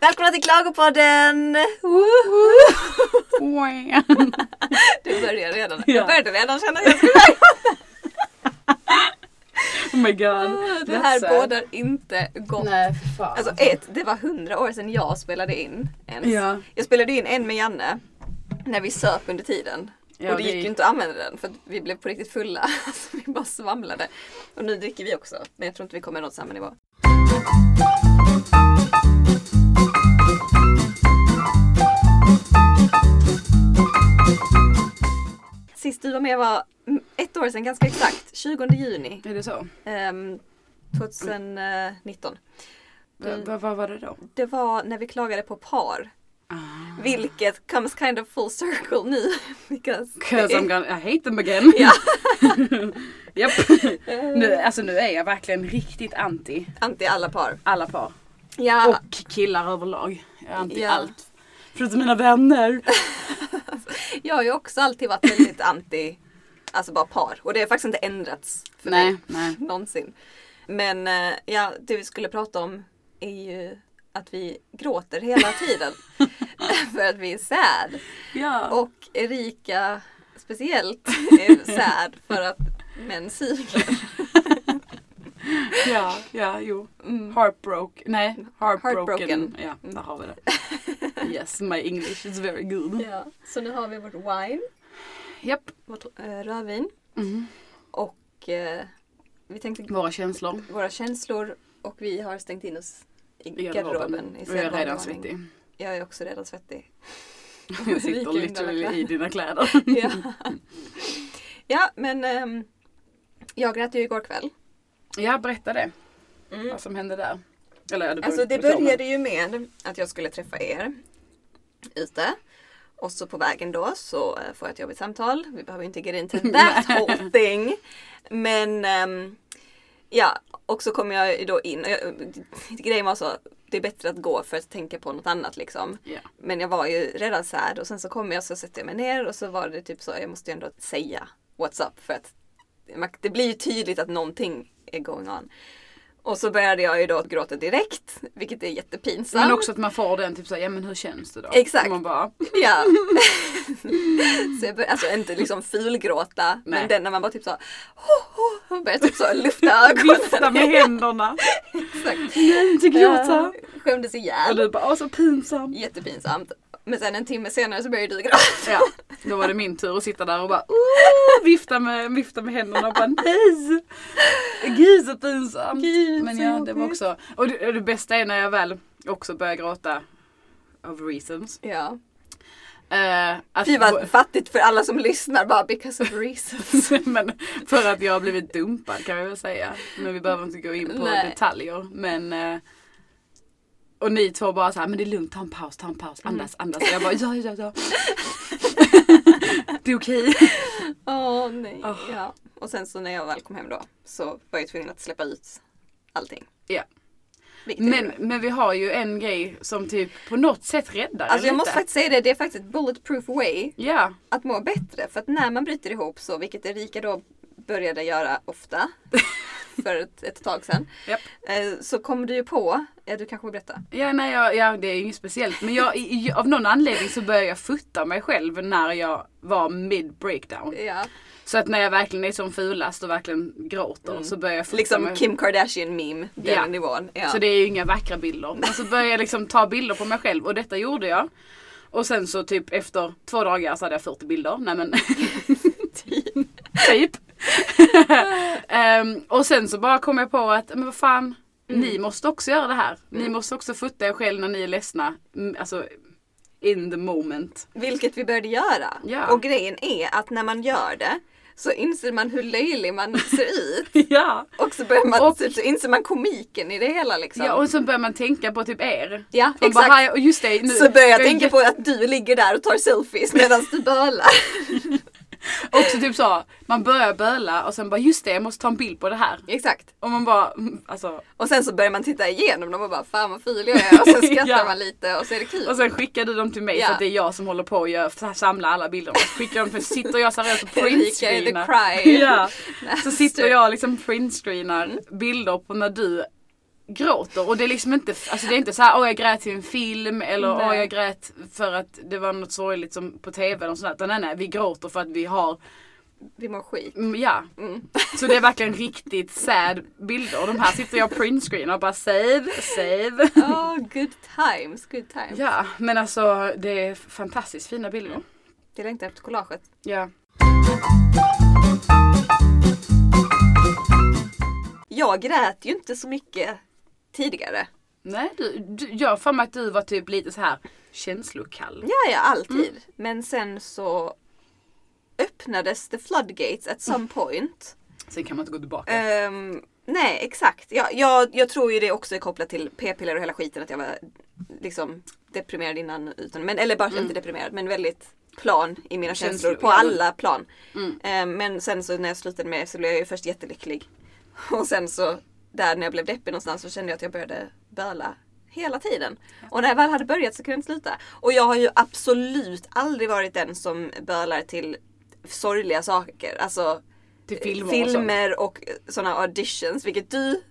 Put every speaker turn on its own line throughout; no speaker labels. Välkomna till Klagopodden! Woho! Du börjar redan.
Ja.
Jag började redan känna att jag skulle...
oh my god.
Det här
Ledsen.
bådar inte gott.
Nej, för fan.
Alltså ett, det var hundra år sedan jag spelade in ens.
Ja.
Jag spelade in en med Janne när vi söp under tiden.
Ja,
och det
det
gick ju
gick-
inte att använda den för att vi blev på riktigt fulla. Alltså, vi bara svamlade. Och nu dricker vi också. Men jag tror inte vi kommer något samma nivå. Sist du var med var mm, ett år sedan ganska exakt. 20 juni
Är det så?
ehm, 2019.
Va- va- Vad var det då?
Det var när vi klagade på par.
Ah,
Vilket comes kind of full circle nu. Because
Cause I'm gonna, I hate them again.
Ja.
Japp. Nu, alltså nu är jag verkligen riktigt anti
anti alla par.
alla par.
Ja,
Och killar överlag. Jag är anti
Ja.
allt. Förutom mina vänner.
jag har ju också alltid varit väldigt anti, alltså bara par. Och det har faktiskt inte ändrats för
Nej,
mig
nej.
någonsin. Men eh, ja, det vi skulle prata om är ju att vi gråter hela tiden. för att vi är sad.
Ja.
Och Erika speciellt är sad för att män suger.
Ja, ja, jo.
Mm.
Heartbroken. Nej, heartbroken.
Heartbroken.
Ja, där har vi det. Yes, my English is very good.
Ja, så nu har vi vårt wine,
Japp.
vårt eh, rödvin
Mm.
och eh, vi tänkte
Våra känslor.
våra känslor och vi har stängt in oss i garderoben. i
Och jag är
sedvanlig
redan
ordning.
svettig.
Jag är också redan svettig.
Jag
Lika
sitter
under
literally
alla
i dina kläder.
ja. ja, men ehm, jag grät ju igår kväll.
Ja, berätta det. Vad som hände där. Mm. Eller, ja,
Alltså det
beror-
började ju med att jag skulle träffa er ute. Och så på vägen då så eh, får jag ett jobbigt samtal. Vi behöver ju inte get into that whole thing. Men ehm, ja, och så kom jag ju då in. Och jag, eh, grejen var så, det är bättre att gå för att tänka på något annat liksom.
Ja.
Men jag var ju redan sad och sen så kom jag så sätter jag mig ner och så var det typ så, jag måste ju ändå säga what's up för att man- det blir ju tydligt att någonting är going on. Och så började jag ju då gråta direkt, vilket är jättepinsamt.
Men också att man får den typ såhär, ja men hur känns det då?
Exakt.
Och Man bara,
Ja. så jag började, alltså inte liksom fulgråta, men
Nej.
den när man bara typ så, oh, oh, började typ så lufta ögonen.
vifta med händerna.
Exakt.
Nej, inte gråta.
Eh, Skämdes
Och
ihjäl.
du bara, åh så pinsamt.
Jättepinsamt. Men sen en timme senare så började du gråta.
Ja, då var det min tur att sitta där och bara, oh, vifta med, vifta med händerna och bara, nej. Gud så pinsamt.
Gud,
men
så
ja, det var
jobbigt.
också, och det, och det bästa är när jag väl också börjar gråta. Of reasons.
Ja.
Eh, att
Fy vad fattigt för alla som lyssnar bara because of reasons.
men för att jag har blivit dumpad kan vi väl säga. Men vi behöver inte gå in på
Nej.
detaljer. Men, eh, och ni två bara såhär, men det är lugnt, ta en paus, ta en paus,
Mm.
andas, andas. Och jag bara, ja, ja, ja. det är okej.
Åh nej.
Åh.
Ja. Och sen så när jag väl kom hem då så var jag tvungen att släppa ut allting.
Ja.
Vilket är
Men,
bra.
men vi har ju en grej som typ på något sätt räddar en
Alltså jag
lite.
måste faktiskt säga det, det är faktiskt ett bulletproof way
Ja,
att må bättre. För att när man bryter ihop så, vilket Erika då började göra ofta för ett, ett tag sedan.
Japp.
eh, Så kom du ju på, eh, du kanske vill berätta?
ja, nej, ja, ja det är ju inget speciellt. Men jag, i- i- av någon anledning så börjar jag futta mig själv när jag var mid breakdown.
Ja.
Så att när jag verkligen är som fulast och verkligen gråter så börjar jag fota
Liksom
mig.
Kim Kardashian meme, den
Ja.
nivån. Ja.
Så det är ju inga vackra bilder. Men så började jag liksom ta bilder på mig själv och detta gjorde jag. Och sen så typ efter två dagar så hade jag 40 bilder. Nej men. typ. Ehm, och sen så bara kom jag på att, men vad fan.
Mm.
Ni måste också göra det här. Ni måste också fota er själv när ni är ledsna. Mm, Alltså in the moment.
Vilket vi började göra.
Ja.
Och grejen är att när man gör det så inser man hur löjlig man ser ut.
ja.
Och så, börjar man,
Och-
så, så inser man komiken i det hela liksom.
ja. Och så börjar man tänka på typ er.
Ja,
Man bara,
exakt.
"Hej", och just det, nu,
så börjar jag
är
tänka på att du ligger där och tar selfies medan du bölar.
Också typ så, man börjar böla och sen bara just det jag måste ta en bild på det här.
Exakt.
Och man bara, mm, alltså.
Och sen så börjar man titta igenom dem och bara fan vad ful jag är och sen skrattar
Ja.
man lite och så är det kul.
Och sen skickar du dem till mig
Ja.
för att det är jag som håller på och gör, så här, samlar alla bilder. Och skickar dem för sitter jag seriöst och
Erika är the
printscreenar.
cry.
Ja. Så sitter
så-
jag och liksom printscreenar bilder på när du gråter och det är liksom inte, alltså det är inte så här åh jag grät till en film eller
Nej.
åh jag grät för att det var något sorgligt som på tv eller sånt där. Nej nej, vi gråter för att vi har,
Vi mår skit.
mm, ja. Så det är verkligen riktigt sad bilder. Och de här sitter jag och printscreenar och bara save, save.
Oh, good times, good times.
Ja, men alltså det är fantastiskt fina bilder.
Det längtar efter collaget.
Ja.
Jag grät ju inte så mycket tidigare.
Nej, du, du, jag har för mig att du var typ lite så här känslokall.
Ja, ja, alltid. Men sen så öppnades the floodgates at some point.
Sen kan man inte gå tillbaka.
Ehm, nej, exakt. Jag, jag, jag tror ju det också är kopplat till p-piller och hela skiten. Att jag var liksom deprimerad innan. Utan, men, eller bara
Mm.
inte deprimerad, men väldigt plan i mina
Känslor,
känslor. på
ja.
alla plan.
Mm.
Ehm, men sen så när jag slutade med det så blev jag ju först jättelycklig. Och sen så där när jag blev deppig någonstans så kände jag att jag började böla hela tiden. Och när jag väl hade börjat så kunde jag inte sluta. Och jag har ju absolut aldrig varit den som bölar till sorgliga saker. Alltså
Till
eh,
filmer och
filmer och sådana auditions. Vilket du,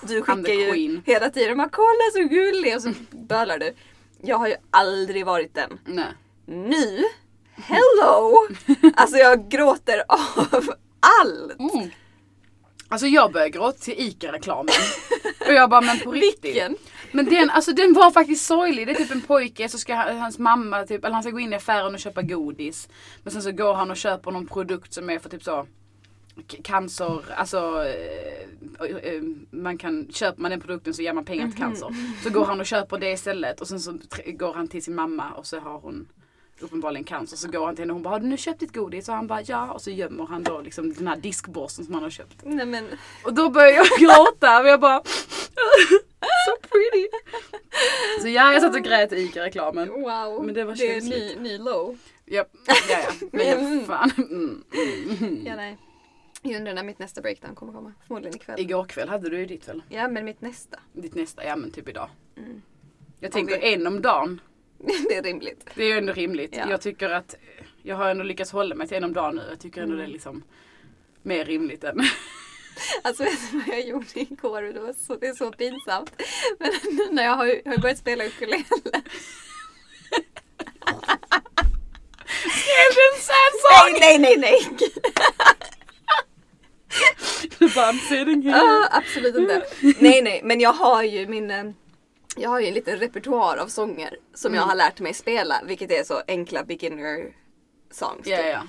du
I'm
skickar
the
ju
queen.
hela tiden. Man kolla så gullig och så bölar du. Jag har ju aldrig varit den.
Nej.
Nu, hello! Alltså jag gråter av allt.
Mm. Alltså jag började gråta till ICA-reklamen. Och jag bara, men på riktigt.
Vilken?
Men den, alltså den var faktiskt sorglig. Det är typ en pojke så ska han- hans mamma, typ, eller han ska gå in i affären och köpa godis. Men sen så går han och köper någon produkt som är för typ så k- cancer, alltså eh, eh, man kan, köper man den produkten så ger man pengar till cancer. Så går han och köper det istället och sen så tr- går han till sin mamma och så har hon uppenbarligen cancer. Så går han till henne och hon bara har du nu köpt ditt godis? Och han bara ja och så gömmer han då liksom den här diskborsten som han har köpt.
Nej men
Och då började jag gråta och jag bara So pretty! Så ja, jag satt och grät i ICA-reklamen.
wow.
Men det var
det är ny,
känsligt.
ny low.
Japp, ja, ja. Men fan. Mm.
Ja, nej. Jag undrar när mitt nästa breakdown kommer komma. Förmodligen ikväll.
Igår kväll hade du ju ditt väl?
Ja men mitt nästa.
Ditt nästa, ja men typ idag.
Mm.
Jag
Om
tänker
vi-
en om dagen.
det är rimligt.
Det är ju ändå rimligt.
Ja.
Jag tycker att jag har ändå lyckats hålla mig till en om dagen nu. Jag tycker ändå
Mm.
det är liksom mer rimligt än...
Alltså vet du vad jag gjorde igår? Det, var så, det är så pinsamt. Men nu när jag har, jag har börjat spela ukulele.
Skrev du en sad
Nej, nej, nej, nej!
Du bara I'm sitting here.
Ah, absolut inte. Nej, nej, men jag har ju min... eh, Jag har ju en liten repertoar av sånger som
Mm.
jag har lärt mig spela. Vilket är så enkla beginner songs.
Ja,
typ.
ja.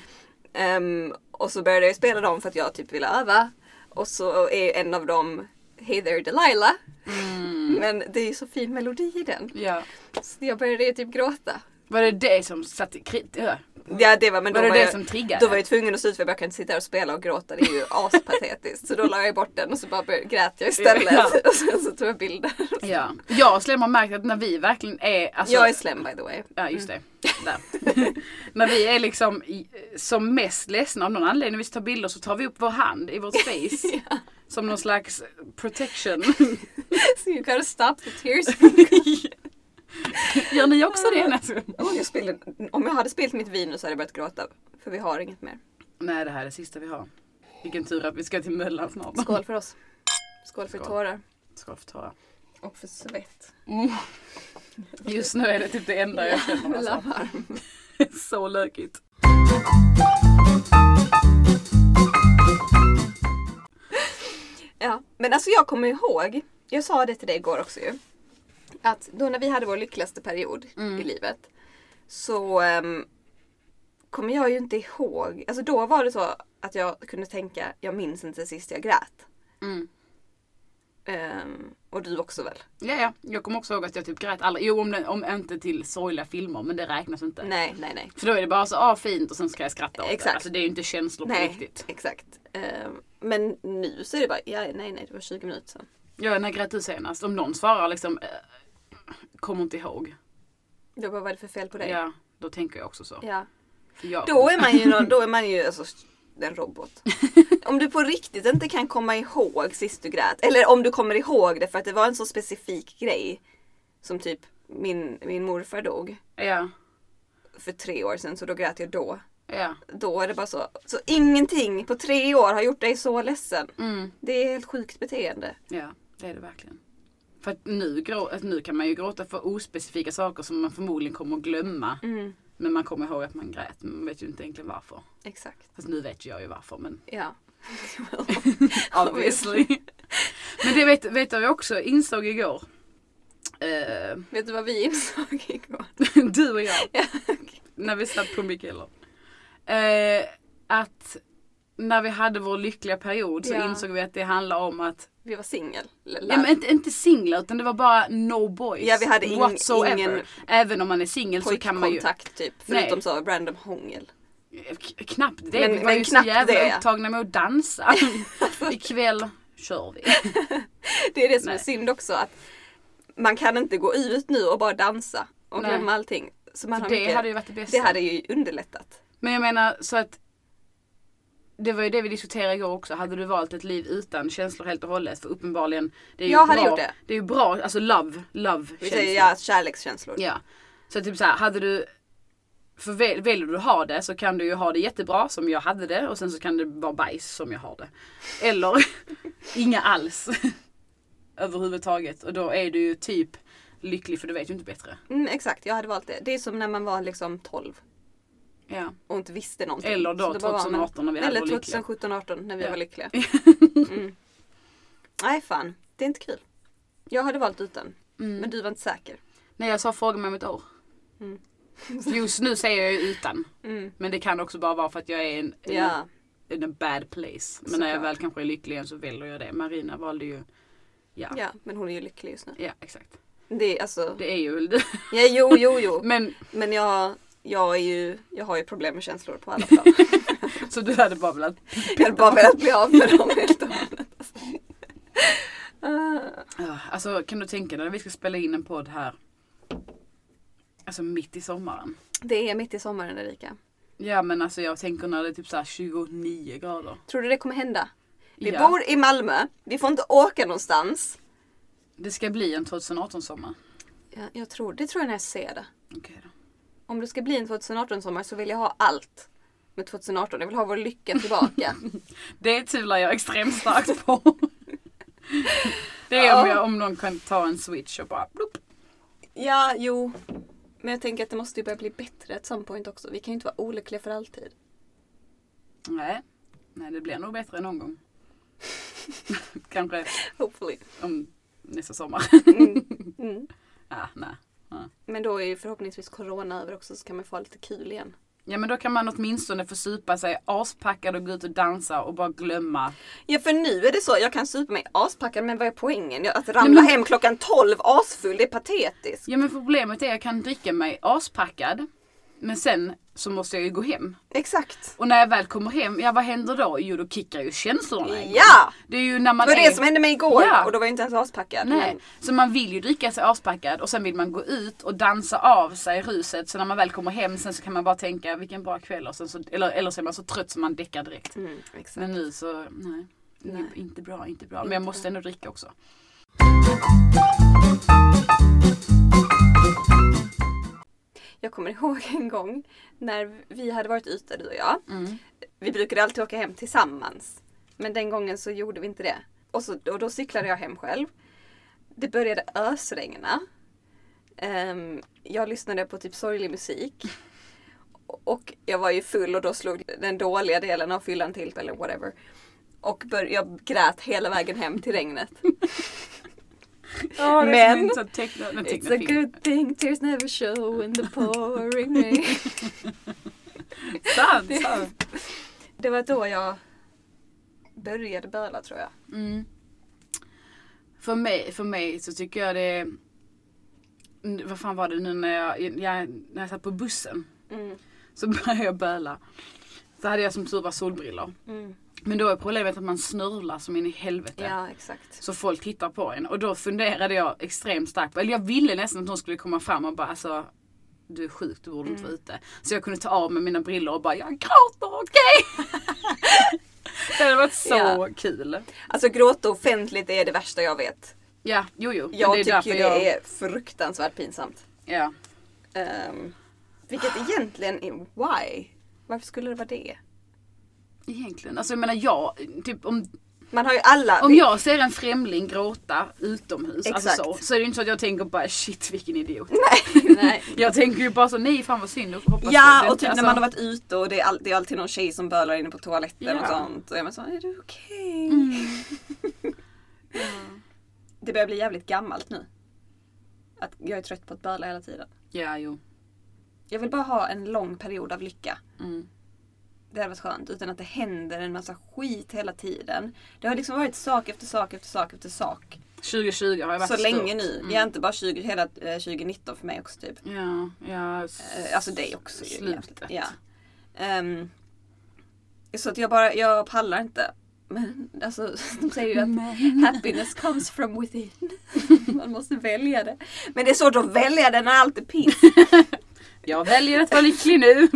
Ehm, och så började jag spela dem för att jag typ ville öva. Och så är en av dem Hey there Delilah.
Mm.
Men det är ju så fin melodi i den.
ja.
Så jag började ju typ gråta.
Var det det som satte krit... Ja.
Ja det var, men
Var
då,
det
var
det
jag,
som triggade?
då var jag tvungen att sluta för jag kan inte sitta här och spela och gråta. Det är ju aspatetiskt. Så då la jag bort den och så bara började, grät jag istället.
Ja.
Och sen så tog jag bilder.
Ja. Jag och Slem har märkt att när vi verkligen är... Alltså,
Jag är slem by the way.
Ja just det. Där. när vi är liksom i- som mest ledsna av någon anledning, när vi tar bilder så tar vi upp vår hand i vårt face. Som någon slags protection.
So you gotta stop the tears.
Gör ni också det? Alltså?
Om jag, spelade, om jag hade spelat mitt vin nu så hade jag börjat gråta. För vi har inget mer.
Nej det här är det sista vi har. Vilken tur att vi ska till Möllan snart.
Skål för oss. Skål för
Skål.
tårar.
Skål för Tara.
Och för svett.
Just nu är det typ det enda jag känner. Alltså.
Lavarm.
Så lökigt.
Ja, men alltså jag kommer ihåg, jag sa det till dig igår också ju. Att då när vi hade vår lyckligaste period i livet så ehm, kommer jag ju inte ihåg. Alltså då var det så att jag kunde tänka, jag minns inte sist jag grät.
Mm.
Ehm, och du också väl?
Ja, ja. Jag kommer också ihåg att jag typ grät aldrig. Jo, om, det, om inte till sorgliga filmer, men det räknas inte.
Nej, nej, nej.
För då är det bara så, ah fint och sen ska jag skratta åt det.
Exakt.
Alltså det är ju inte känslor på
nej,
riktigt.
exakt. Ehm, men nu så är det bara, ja, nej, nej, det var 20 minuter sedan.
Ja, när grät du senast? Om någon svarar liksom, eh, kommer inte ihåg.
Jag bara, vad är det för fel på dig?
Ja, då tänker jag också så.
ja.
För jag,
Då är man ju, någon, då är man ju alltså, en robot. Om du på riktigt inte kan komma ihåg sist du grät. Eller om du kommer ihåg det för att det var en så specifik grej. Som typ min, min morfar dog
Ja,
för tre år sedan så då grät jag då.
ja.
Då är det bara så. Så ingenting på tre år har gjort dig så ledsen.
Mm,
Det är ett sjukt beteende.
ja, det är det verkligen. För att nu, grå, att nu kan man ju gråta för ospecifika saker som man förmodligen kommer att glömma.
Mm,
Men man kommer ihåg att man grät, men man vet ju inte egentligen varför.
exakt.
Fast nu vet jag ju varför, men
Ja.
obviously. men det vet, vet jag ju också, insåg igår. Eh,
Vet du vad vi insåg igår?
du och jag.
Ja,
när vi satt på Mikaela. Eh, att när vi hade vår lyckliga period så
Ja.
insåg vi att det handlar om att,
Vi var singel.
ja, men inte, inte singlar utan det var bara no boys.
Ja, vi hade ing-
whatsoever.
ingen
Även om man är singel så kan man ju
Pojkkontakt typ.
Nej.
Förutom så random hångel.
K- knappt det.
Men-
vi var
men
ju så
knappt
jävla
det.
upptagna med att dansa. Ikväll kör vi.
Det är det som
Nej.
är synd också att man kan inte gå ut nu och bara dansa och
Nej.
glömma allting. Så man har
det
mycket,
hade ju varit det bästa.
det hade ju underlättat.
Men jag menar så att det var ju det vi diskuterade igår också. Hade du valt ett liv utan känslor helt och hållet? För uppenbarligen, det är ju
Jag
bra.
hade gjort det.
är ju bra, alltså love, love
Vi
känslor.
säger ja, kärlekskänslor.
Ja. Så typ så här, hade du för väl- väljer du att ha det så kan du ju ha det jättebra som jag hade det och sen så kan det vara bajs som jag har det. Eller inga alls. Överhuvudtaget. Och då är du ju typ lycklig för du vet ju inte bättre.
Mm, exakt, jag hade valt det. Det är som när man var liksom 12
Ja.
och inte visste någonting.
Eller då
Så bara var man-
2018 när vi hade
Eller
vår lyckliga.
2017, 18 när vi
Ja.
var lyckliga. Mm. Nej fan, det är inte kul. Jag hade valt utan.
Mm.
Men du var inte säker.
Nej jag sa fråga mig om ett år.
Mm.
Just nu säger jag ju utan.
Mm.
Men det kan också bara vara för att jag är en, en,
Ja,
in a bad place. Men när jag
Såklart.
väl kanske är lycklig igen så väljer jag det. Marina valde ju... Ja. Ja,
ja, men hon är ju lycklig just nu.
exakt.
Det är alltså,
Det är ju väl det.
ja, jo, jo, jo.
Men
Men jag, jag, är ju, jag har ju problem med känslor på alla plan.
så du hade bara velat...
Jag hade bara velat bli av med dem helt och hållet. alltså. Ah,
Ja, Alltså kan du tänka dig när vi ska spela in en podd här. Alltså mitt i sommaren.
Det är mitt i sommaren Erika.
Ja men alltså jag tänker när det är typ såhär 29 grader.
Tror du det kommer hända? Vi
Ja.
bor i Malmö, vi får inte åka någonstans.
Det ska bli en 2018 sommar.
Ja, jag tror, det tror jag när jag ser det.
Okej då.
Om det ska bli en 2018-sommar så vill jag ha allt med 2018. Jag vill ha vår lycka tillbaka.
Det tvivlar jag extremt starkt på. Det är om, jag, om någon kan ta en switch och bara blopp.
ja, jo. Men jag tänker att det måste ju börja bli bättre at some point också. Vi kan ju inte vara olyckliga för alltid.
Nej. Nej det blir nog bättre någon gång. Kanske
Hopefully.
om nästa sommar.
Mm.
Ja, nej.
Men då är ju förhoppningsvis corona över också så kan man få ha lite kul igen.
Ja men då kan man åtminstone få supa sig aspackad och gå ut och dansa och bara glömma.
Ja för nu är det så, jag kan supa mig aspackad men vad är poängen? Jag- Att ramla
men-
hem klockan 12 asfull, det är patetiskt.
Ja men problemet är att jag kan dricka mig aspackad men sen så måste jag ju gå hem.
Exakt.
Och när jag väl kommer hem, ja vad händer då? Jo då kickar ju känslorna igång.
Ja!
Det är ju när
Det
man
var
är...
det som hände mig igår
Oh Ja.
och då var jag inte ens aspackad.
Nej,
Men,
så man vill ju dricka sig aspackad och sen vill man gå ut och dansa av sig ruset så när man väl kommer hem sen så kan man bara tänka vilken bra kväll och sen så, eller, eller så är man så trött så man däckar direkt.
mm, exakt.
Men nu så, nej.
Nej.
Inte bra, inte bra. Men jag måste ändå dricka också.
Jag kommer ihåg en gång när vi hade varit ute du och jag. Vi brukade alltid åka hem tillsammans. Men den gången så gjorde vi inte det. Och, så, och då cyklade jag hem själv. Det började ösregna. Ehm, jag lyssnade på typ sorglig musik. Och jag var ju full och då slog den dåliga delen av fyllan till eller whatever. Och bör, jag grät hela vägen hem till regnet.
Ja,
det är som en
så teckna, en
It's a good thing tears never show in the pouring rain.
Sant,
Det-
sant.
Det var då jag började böla tror jag.
Mm. För, mig, för mig så tycker jag det... N- Vad fan var det nu när jag, jag, när jag satt på bussen?
Mm.
Så började jag böla. Så hade jag som tur var solbrillor.
Mm.
Men då är problemet att man snurlar som in i helvete.
Ja, exakt.
Så folk tittar på en och då funderade jag extremt starkt på, eller jag ville nästan att någon skulle komma fram och bara alltså du är sjuk, du borde inte
Mm.
vara ute. Så jag kunde ta av mig mina brillor och bara jag gråter, okej? det hade varit så
Ja.
kul.
Alltså gråta offentligt är det värsta jag vet.
Ja, jo jo. men
Jag
är
tycker
därför
ju det är fruktansvärt pinsamt.
Ja.
Ehm, vilket egentligen är why? Varför skulle det vara det?
Egentligen, alltså jag menar jag, typ om
Man har ju alla...
Om jag ser en främling gråta utomhus,
Exakt.
alltså så, så är det ju inte så att jag tänker bara shit vilken idiot.
Nej.
Jag tänker ju bara så nej fan vad synd. och hoppas att
Ja
det
och
inte-
typ när
alltså,
man har varit ute och det är, all, det är alltid någon tjej som bölar inne på toaletten och
Ja.
sånt. Och är man så, är du okej?
Mm.
Det börjar bli jävligt gammalt nu. Att jag är trött på att böla hela tiden.
Ja jo.
Jag vill bara ha en lång period av lycka.
Mm.
Det hade varit skönt. Utan att det händer en massa skit hela tiden. Det har liksom varit sak efter sak efter sak efter sak.
2020 har jag varit
Så länge
stort. Mm.
nu. Jag är inte bara 20, hela eh, 2019 för mig också typ.
Ja, ja. s-
Eh, Alltså dig också ju
Slutet.
egentligen. Ja. Ehm, så att jag bara, jag pallar inte. Men alltså de säger ju att happiness comes from within. Man måste välja det. Men det är svårt att välja det när allt är piss.
Jag väljer att vara lycklig nu.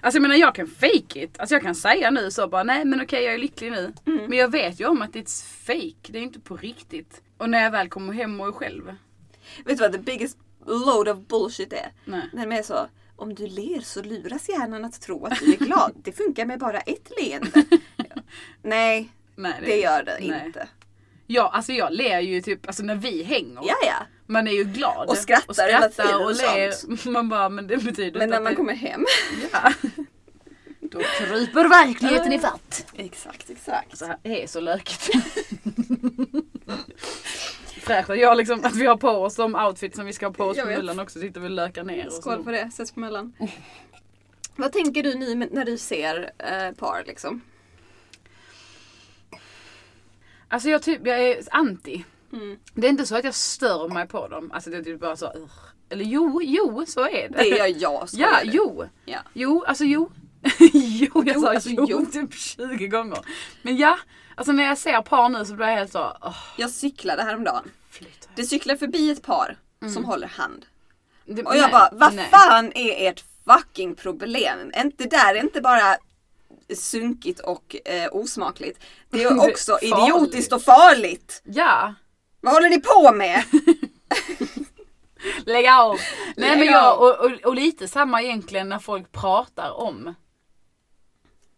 Alltså jag menar jag kan fake it. Alltså jag kan säga nu så bara nej men okej jag är lycklig nu.
Mm.
Men jag vet ju om att det är fake. Det är inte på riktigt. Och när jag väl kommer hem och är själv.
Vet du vad the biggest load of bullshit är?
Nej.
När de är så om du ler så luras hjärnan att tro att du är glad. Det funkar med bara ett leende. Nej,
Nej,
det gör det
nej.
inte.
Ja, alltså jag ler ju typ alltså när vi hänger.
Ja, ja.
Man är ju glad.
Och skrattar
och,
hela
skrattar
tiden
och,
och
ler. Man bara men det betyder
Men
inte
när
att
man
det-
kommer hem.
Ja. Då kryper verkligheten ifatt.
Exakt, exakt.
Så här, det är så lökigt. Fräscht att jag liksom, att vi har på oss de outfits som vi ska ha på oss
Jag
på
vet.
mullen också. Sitter vi och Oh. lökar ner oss.
Skål på det, ses på mellan. Vad tänker du nu med- när du ser eh, par liksom?
Alltså jag typ, jag är anti.
Mm.
Det är inte så att jag stör mig på dem. Alltså det är typ bara så, "Ugh." Eller jo, jo så är det.
Det gör jag. skojar
Ja,
du.
jo.
Ja.
Jo, alltså jo. jo, jag
Jo,
sa
alltså,
jo,
jo.
typ 20 gånger. Men ja, alltså när jag ser par nu så blir jag helt så, åh,
Jag cyklade häromdagen.
flytta.
Det cyklar förbi ett par som
Mm.
håller hand.
Det-
Och jag
nej,
bara, vad
nej.
fan är ert fucking problem? Inte där, är inte bara sunkigt och eh, osmakligt. Det
Det
är
är
också
farligt.
idiotiskt och farligt.
Ja,
Vad håller ni på med?
lägg av. Nej
Lägg
men
av.
jag, och, och, och lite samma egentligen när folk pratar om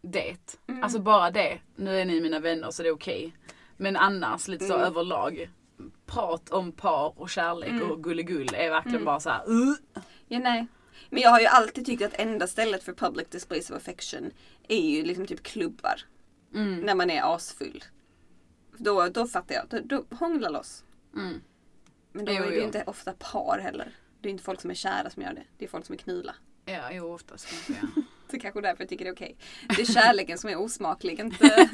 det.
Mm.
Alltså bara det. Nu är ni mina vänner så det är okej. Men annars lite
Mm.
så överlag. Prat om par och kärlek
Mm.
och gulligull är verkligen bara så här. "Ugh."
Ja, nej. Men jag har ju alltid tyckt att enda stället för public displays of affection är ju liksom typ klubbar. När man är asfull. Då, då fattar jag. Då, då hångla loss.
Mm.
Men då
Jo,
är det ju
jo.
inte ofta par heller. Det är inte folk som är kära som gör det. Det är folk som är knula.
Ja, jo oftast kanske ja.
Det är kanske därför jag tycker det är okej. Det är kärleken som är osmaklig, inte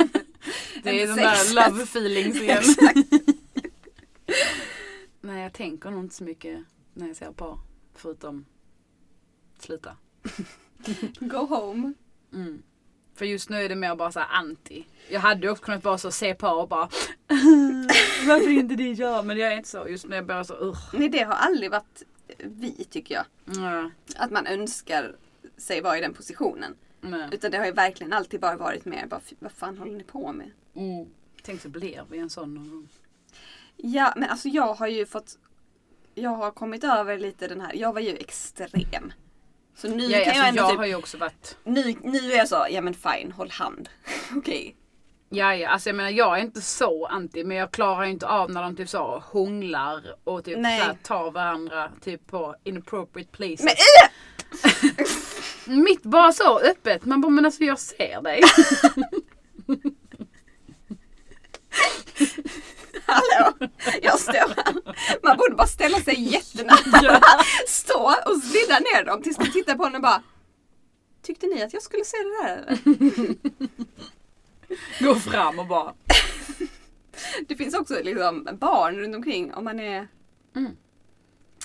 Det är
inte
de där
sexet.
love feelings igen. Nej jag tänker nog inte så mycket när jag ser par. Förutom sluta.
Go home.
Mm. För just nu är det mer bara så här anti. Jag hade ju också kunnat vara så se par och bara Varför är inte det jag? Men jag är inte så. Just nu är jag bara så urr.
Nej, det har aldrig varit vi tycker jag.
Nej,
Att man önskar sig vara i den positionen.
nej.
Utan det har ju verkligen alltid bara varit mer bara, "Fy, vad fan håller ni på med?
Mm. Tänk så blir vi en sån någon
Mm,
gång.
Ja, men alltså jag har ju fått... Jag har kommit över lite den här... Jag var ju extrem. Så nu
Ja,
kan
alltså,
jag
jag
ändå typ...
har ju också varit
Nu, nu är jag så, ja men fine, håll hand. Okej.
Ja, ja, alltså jag menar jag är inte så anti men jag klarar ju inte av när de typ så hånglar och typ så
Nej.
här, tar varandra typ på inappropriate places.
Men äh!
Mitt bara så öppet, man bara men alltså jag ser dig.
Hallå! Jag står här. Man borde bara ställa sig jättenära.
Ja.
Stå och slidda ner dem tills man tittar på honom och bara... Tyckte ni att jag skulle se det där eller?"
Går fram och bara.
Det finns också liksom barn runt omkring om man är...
Mm.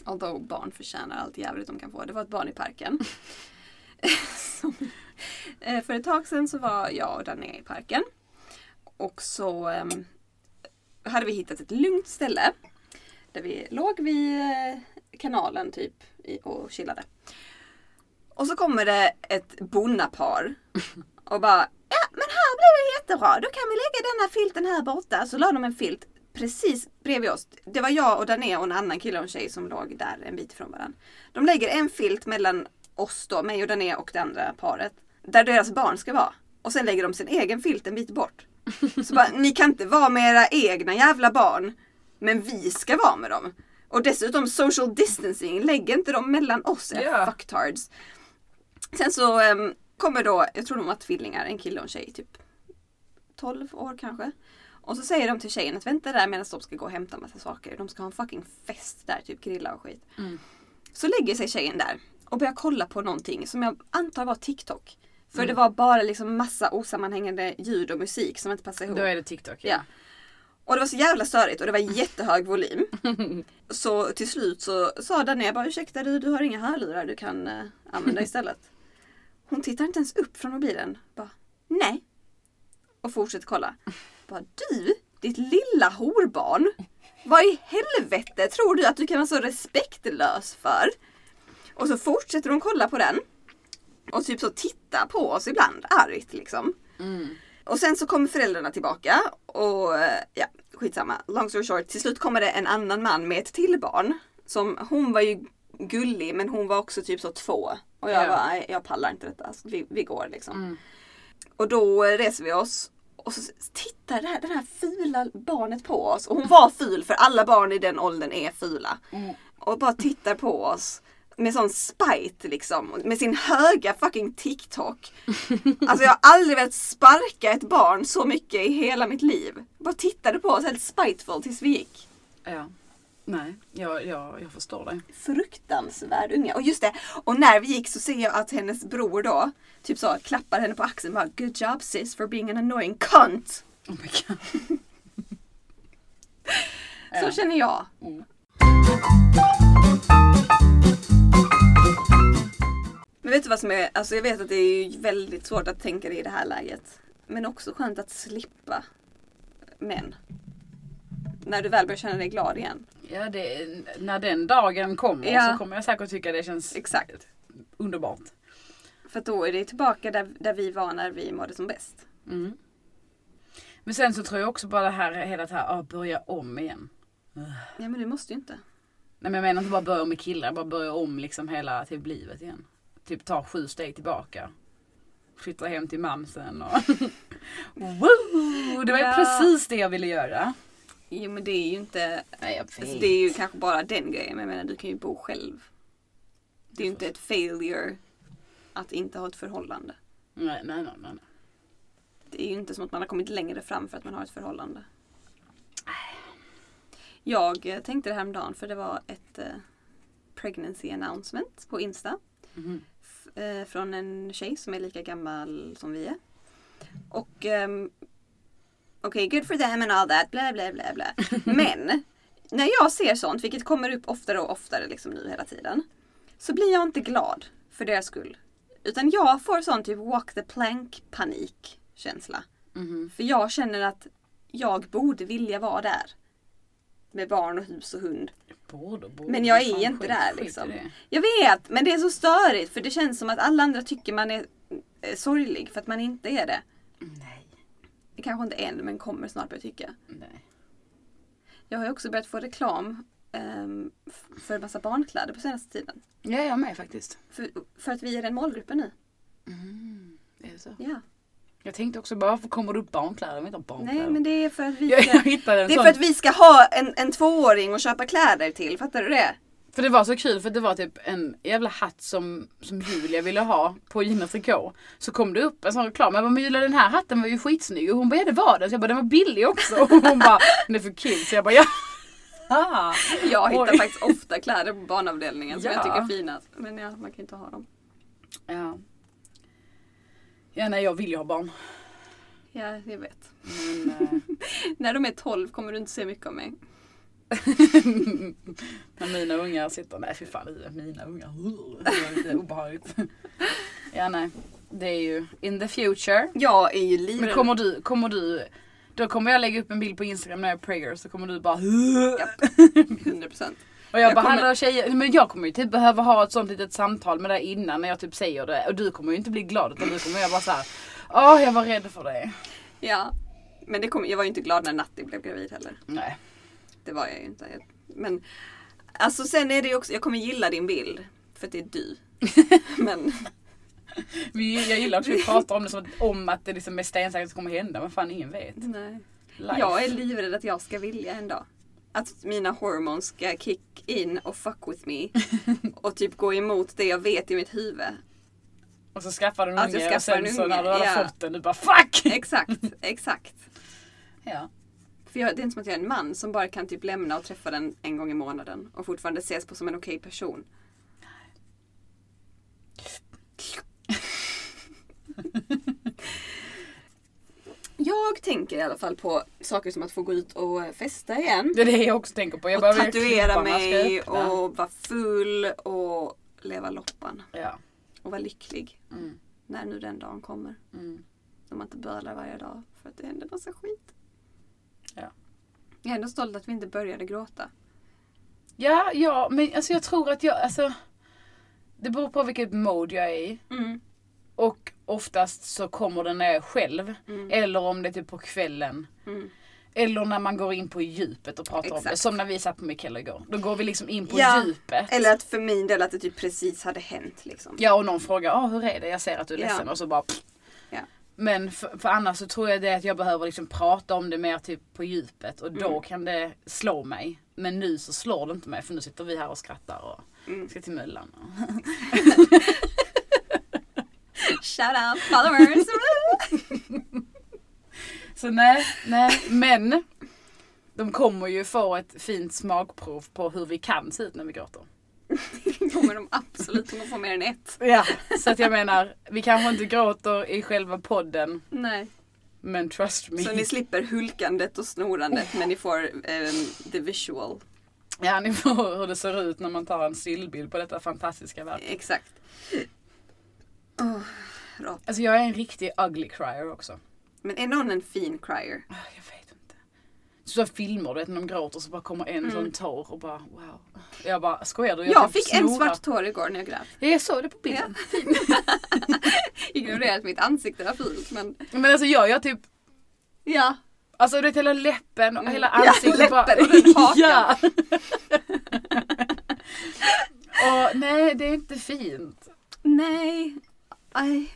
Although barn förtjänar allt jävligt de kan få. Det var ett barn i parken. Som, eh, för ett tag sedan så var jag och Danne i parken. Och så ehm, hade vi hittat ett lugnt ställe. Där vi låg vid eh, kanalen typ i- och chillade. Och så kommer det ett bonnapar och bara Ja men här blir det jättebra, då kan vi lägga den här filten här borta. Så la de en filt precis bredvid oss. Det var jag och Dané och en annan kille och en tjej som låg där en bit från varandra. De lägger en filt mellan oss då, mig och Dané och det andra paret. Där deras barn ska vara. Och sen lägger de sin egen filt en bit bort. Så bara, ni kan inte vara med era egna jävla barn. Men vi ska vara med dem. Och dessutom social distancing, lägg inte dem mellan oss era
Ja.
fucktards. Sen så ehm, kommer då, jag tror de var tvillingar, en kille och en tjej typ 12 år kanske. Och så säger de till tjejen att vänta där medan de ska gå och hämta en massa saker. De ska ha en fucking fest där, typ grilla och skit.
Mm.
Så lägger sig tjejen där och börjar kolla på någonting som jag antar var TikTok. För
Mm.
det var bara liksom massa osammanhängande ljud och musik som inte passade ihop.
Då är det TikTok.
Ja. Och det var så jävla störigt och det var jättehög volym. Så till slut så sa Danne, jag bara ursäkta du, du har inga hörlurar du kan eh, använda istället. Hon tittar inte ens upp från mobilen. Bara, nej. Och fortsätter kolla. Bara, du, ditt lilla horbarn. Vad i helvete tror du att du kan vara så respektlös för? Och så fortsätter hon kolla på den. Och typ så titta på oss ibland, argt liksom.
Mm.
Och sen så kommer föräldrarna tillbaka och eh, ja, skitsamma. Long story short, till slut kommer det en annan man med ett till barn. Som, hon var ju gullig men hon var också typ så två. Och jag
Ja.
bara, "Nej, jag pallar inte detta. Alltså, vi, vi går liksom.
Mm.
Och då eh, reser vi oss och så tittar det här, det här fula barnet på oss. Och hon var ful för alla barn i den åldern är fula.
Mm.
Och bara tittar på oss. Med sån spite liksom. Med sin höga fucking TikTok. Alltså jag har aldrig velat sparka ett barn så mycket i hela mitt liv. Bara tittade på oss helt spiteful tills vi gick.
Ja. Nej, jag, jag, jag förstår dig.
Fruktansvärd unga. Och just det, och när vi gick så ser jag att hennes bror då typ så klappar henne på axeln bara Good job sis for being an annoying cunt.
Oh my god.
Så
Ja.
känner jag.
Mm.
Men vet du vad som är, alltså jag vet att det är ju väldigt svårt att tänka det i det här läget. Men också skönt att slippa män. När du väl börjar känna dig glad igen.
Ja, det, när den dagen kommer
Ja.
så kommer jag säkert tycka det känns
Exakt.
underbart.
För att då är det tillbaka där, där vi var när vi mådde som bäst.
Mm. Men sen så tror jag också bara det här, hela det här, ah, börja om igen.
Ja men du måste ju inte.
Nej men jag menar inte bara börja om med killar, bara börja om liksom hela typ livet igen. Typ ta sju steg tillbaka. Flytta hem till mamsen och... Woo! Det var ju
Ja.
precis det jag ville göra.
Jo men det är ju inte,
Nej jag
alltså, det är ju kanske bara den grejen. Men jag menar du kan ju bo själv. Det är ju inte ett failure att inte ha ett förhållande.
Nej, nej, nej, nej.
Det är ju inte som att man har kommit längre fram för att man har ett förhållande. Jag eh, tänkte det häromdagen för det var ett eh, pregnancy announcement på Insta.
Mhm.
f- eh, från en tjej som är lika gammal som vi är. Och ehm, okej, good for them and all that, bla bla bla bla. Men när jag ser sånt, vilket kommer upp oftare och oftare liksom nu hela tiden, så blir jag inte glad för deras skull. Utan jag får sån typ walk the plank panik känsla.
Mhm.
För jag känner att jag borde vilja vara där. Med barn och hus och hund.
Borde, borde.
Men jag
Fan,
är inte
skit-
där
skit i
liksom.
det.
Jag vet, men det är så störigt för det känns som att alla andra tycker man är eh, sorglig för att man inte är det.
Nej.
Det kanske inte är än, men kommer snart börja tycka.
Nej.
Jag har ju också börjat få reklam ehm, f- för en massa barnkläder på senaste tiden.
Ja, jag med faktiskt.
För, för att vi är den målgruppen nu.
Mm. Är det så?
Ja.
Jag tänkte också bara, varför kommer det upp barnkläder om vi inte har barnkläder?
Nej, men det är för att vi
jag,
ska,
jag hittade en
det är
sån.
för att vi ska ha en, en tvååring och köpa kläder till. Fattar du det?
För det var så kul för det var typ en jävla hatt som, som Julia ville ha på Ginas Trikå. Så kom det upp en sån reklam. Jag bara, men Julia den här hatten var ju skitsnygg. Och hon bara, ja det var den. Så jag bara, den var billig också. Och hon bara, den är för kul. Så jag bara, ja. Ah.
Jag hittar
Oj.
faktiskt ofta kläder på barnavdelningen som
Ja.
jag tycker är fina. Men ja, man kan inte ha dem.
Ja. Ja nej jag vill ju ha barn.
Ja, jag vet.
Men, eh,
När de är 12 kommer du inte se mycket av mig.
när mina ungar sitter, nej fy fan det är mina ungar. Uh, Det är obehagligt. Ja nej. Det är ju in the future.
Jag är ju livrädd.
Men kommer du, kommer du, då kommer jag lägga upp en bild på Instagram när jag prayer så kommer du bara
Japp. 100%.
Och jag,
Jag
bara
kommer-
kommer... tjejer, men jag kommer ju typ behöva ha ett sånt litet samtal med dig innan när jag typ säger det och du kommer ju inte bli glad utan du kommer jag bara såhär Åh jag var rädd för dig.
Ja. Men det kom, jag var ju inte glad när Natti blev gravid heller.
Nej.
Det var jag ju inte. Jag- Men alltså sen är det ju också, jag kommer gilla din bild. För att det är du. Men
Vi, jag gillar också att vi pratar om det som att, om att det liksom är stensäkert kommer hända. Men fan ingen vet.
Nej.
Life.
Jag är livrädd att jag ska vilja en dag. Att mina hormoner ska kick in och fuck with me. Och typ gå emot det jag vet i mitt huvud.
Och så skaffar du en
Att jag
unge och
skaffar
sen
en
så
unge,
när du har
ja.
fått den du bara FUCK!
Exakt, exakt.
Ja.
För jag, det är inte som att jag är en man som bara kan typ lämna och träffa den en gång i månaden och fortfarande ses på som en okej person. Jag tänker i alla fall på saker som att få gå ut och festa igen.
Det är det jag också tänker på. Jag
Och
behöver ju
tatuera
klipparna ska
mig
öppna.
och vara full och leva loppan.
Ja.
Och vara lycklig.
Mm.
När nu den dagen kommer.
Mm.
När man inte bölar varje dag för att det händer massa skit.
Ja.
Jag är ändå stolt att vi inte började gråta.
Ja, ja, men alltså jag tror att jag, alltså. Det beror på vilket mode jag är i.
Mm.
Och oftast så kommer den när jag är själv. Eller om det är typ på kvällen.
Mm.
Eller när man går in på djupet och pratar om det.
Exakt.
Som när vi satt på Mikael igår. Då går vi liksom in på
Ja,
djupet.
Eller att för min del att det typ precis hade hänt liksom.
Ja, och någon frågar ah, hur är det? Jag ser att du är
Ja.
ledsen. Och så bara pff.
Ja.
Men för, för annars så tror jag det att jag behöver liksom prata om det mer typ på djupet. Och då
Mm.
kan det slå mig. Men nu så slår det inte mig för nu sitter vi här och skrattar och
Mm.
ska till Möllan. och-
Shout out followers!
Så nej, nej. Men de kommer ju få ett fint smakprov på hur vi kan se ut när vi gråter.
kommer de absolut kommer få mer än ett.
Ja. Så att jag menar, vi kanske inte gråter i själva podden.
Nej.
Men trust me.
Så ni slipper hulkandet och snorandet men ni får ehm, the visual.
Ja, ni får hur det ser ut när man tar en stillbild på detta fantastiska verk.
Exakt. Åh, rap.
Alltså jag är en riktig ugly crier också.
Men är någon en fin crier?
Ah, Jag vet inte. Så filmer du vet när de gråter så bara kommer en sån tår och bara wow. Jag bara skojar du?
Mm. Jag,
typ
fick en
snorar."
svart tår igår när jag grät.
Ja, jag såg det på bilden.
Ignorerat att mitt ansikte var fult men
Men alltså jag gör typ
ja.
Alltså du vet hela läppen och
Mm.
hela
Ja,
ansiktet. bara-
läppen och den hakan.
ja. och nej det är inte fint.
Nej. Aj.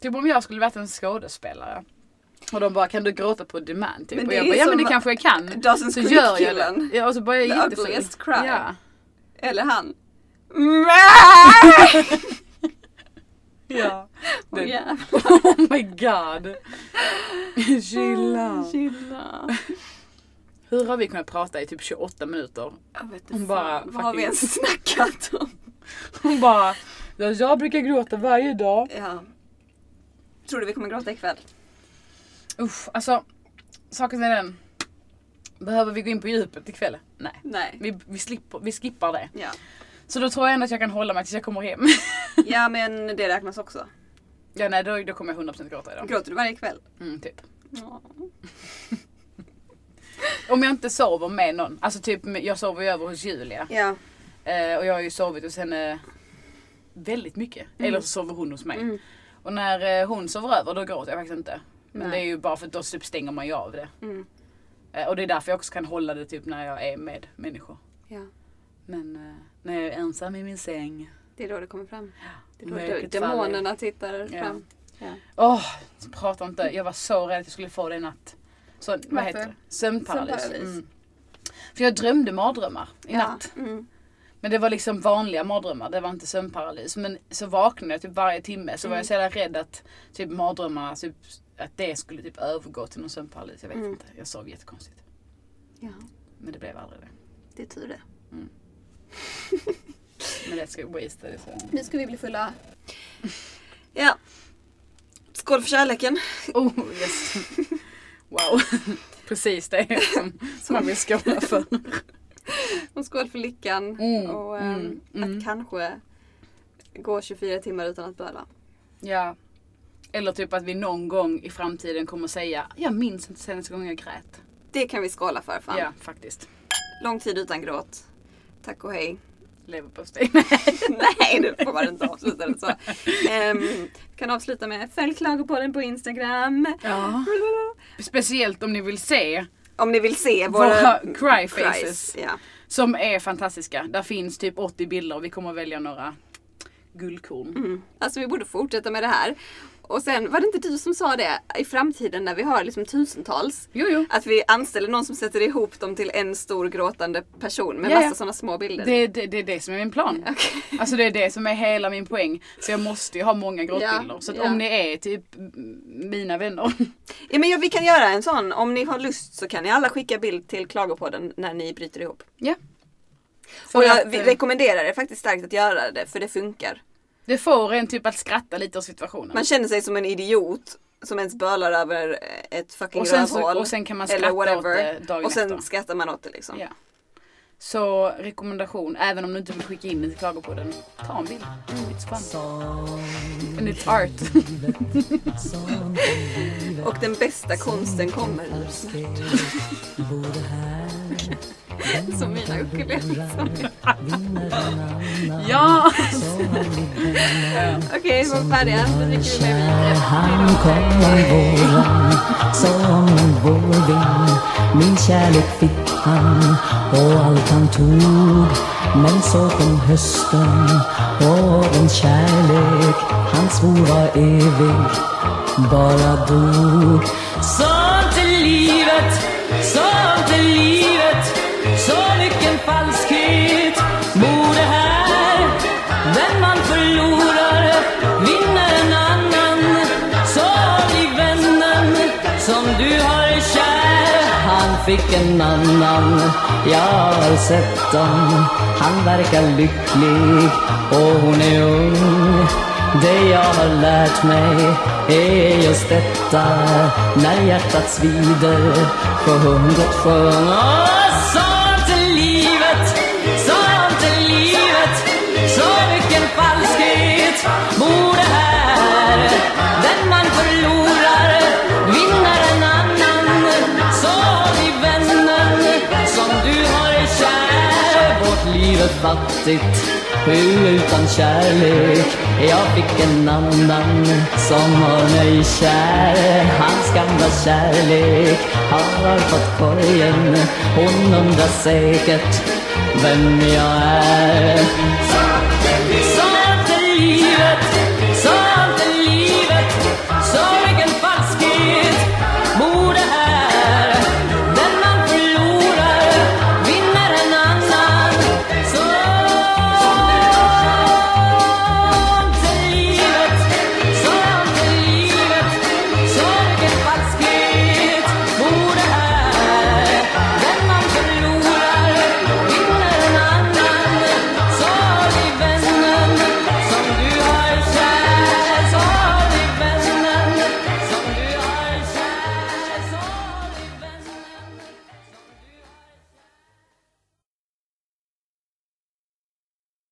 Typ om jag skulle varit en skådespelare. Och de bara kan du gråta på demand? Typ.
Men
Och
det
jag
är
bara ja men
som
det kanske jag kan.
Mm. Dawson's
Så gör jag
Creek-killen.
det. Ja, och så bara jag
The
är jättefull.
ugliest cry.
Ja.
Eller han.
ja.
Åh,
Den-
jävlar.
Oh my god. Chilla.
Chilla.
Hur har vi kunnat prata i typ 28 minuter?
Jag vet
Hon
inte
bara,
fan, vad har vi
fucking-
ens snackat om?
Hon bara "Ja, jag brukar gråta varje dag.
Ja. Tror du vi kommer gråta ikväll?
Usch, alltså saken är den. Behöver vi gå in på djupet ikväll? Nej.
Nej.
Vi, vi, slipper, vi skippar det.
Ja.
Så då tror jag ändå att jag kan hålla mig tills jag kommer hem.
ja men det räknas också.
ja nej då, då kommer jag 100% gråta idag.
Gråter du varje kväll?
Mm, typ.
Ja.
Om jag inte sover med någon. Alltså typ jag sover ju över hos Julia.
Ja.
Eh, och jag har ju sovit hos henne väldigt mycket. Eller så sover hon hos mig.
Mm.
Och när eh, hon sover över då gråter jag faktiskt inte. Men
Nej.
det är ju bara för att då typ stänger man ju av det.
Mm.
Eh, och det är därför jag också kan hålla det typ när jag är med människor.
ja.
Men eh, när jag är ensam i min säng.
Det är då det kommer fram. Det är då
Mörkret
de- demonerna tittar
Ja.
fram. Ja.
Åh, prata inte. Jag var så rädd att jag skulle få det i natt. Så, vad
Varför?
heter det? Sömnparalys.
Sömnparalys.
Mm. För jag drömde mardrömmar i natt.
Ja. Mm.
Men det var liksom vanliga mardrömmar, det var inte sömnparalys. Men så vaknade jag typ varje timme så var
Mm.
jag så jävla rädd att typ mardrömmarna, typ, att det skulle typ övergå till någon sömnparalys. Jag vet
Mm.
inte, jag sov jättekonstigt.
ja.
Men det blev aldrig det.
Det är tur det.
Men det ska jag waste det. Så.
Nu ska vi bli fulla. Ja. Skål för kärleken.
Oh yes! Wow! Precis det som, som man vill skåla för.
Och skål för lyckan.
Mm,
Och ehm,
mm, mm.
att kanske gå 24 timmar utan att böla.
Ja. Eller typ att vi någon gång i framtiden kommer säga Jag minns inte senaste gången jag grät.
Det kan vi skåla för fan.
Ja, faktiskt.
Lång tid utan gråt. Tack och hej.
Leverpastej.
Nej, det får man inte avsluta det så. Ehm, kan avsluta med följ klagopodden på Instagram.
ja. Speciellt om ni vill se
Om ni vill se våra,
våra cry faces
cries. Ja.
som är fantastiska. Där finns typ 80 bilder och vi kommer välja några guldkorn.
Mm. Alltså vi borde fortsätta med det här. Och sen var det inte du som sa det i framtiden när vi har liksom tusentals?
Jo, jo.
Att vi anställer någon som sätter ihop dem till en stor gråtande person med
Ja, ja.
massa sådana små bilder.
Det, är- det, det är det som är min plan.
Okej.
Alltså det är det som är hela min poäng. Så jag måste ju ha många gråtbilder.
Ja,
Så att
ja.
om ni är typ mm, mina vänner.
Ja men ja, vi kan göra en sån. Om ni har lust så kan ni alla skicka bild till Klagopodden när ni bryter ihop.
Ja. Så
Och
att,
jag vi
eh,
rekommenderar det faktiskt starkt att göra det för det funkar.
det får en typ att skratta lite åt situationen.
Man känner sig som en idiot som ens bölar över ett fucking
Och sen,
rövhål.
så, och sen kan man
eller
skratta åt
whatever.
det dagen
och sen
efter.
skrattar man åt det liksom.
Ja. Så rekommendation, även om du inte vill skicka in det till Klagopodden. Ta en bild.
Mm.
It's fun. And it's art.
Och den bästa konsten kommer nu snart. Som mina ukulelor.
ja!
Okej, vi var färdiga. Nu dricker vi mer vin.
Han kommer våren som en vårvind Min kärlek fick han och allt han tog Men så kom hösten och den kärlek han svor var evig bara dog Sånt är livet, sånt är livet Så mycket falskhet bor det här Den man förlorar vinner en annan Så blir vännen som du har kär Han fick en annan, jag har sett dem Han verkar lycklig och hon är ung Det jag har lärt mig är just detta När hjärtat svider för hundret sjöng Åh, sånt är livet, sånt är livet Så mycket falskhet bor det här Den man förlorar vinner en annan Så vi vänner som du har är kär Vårt liv är fattigt hur utan kärlek Jag fick en annan som har mig kär Hans gamla kärlek har fått korgen Hon undrar säkert vem jag är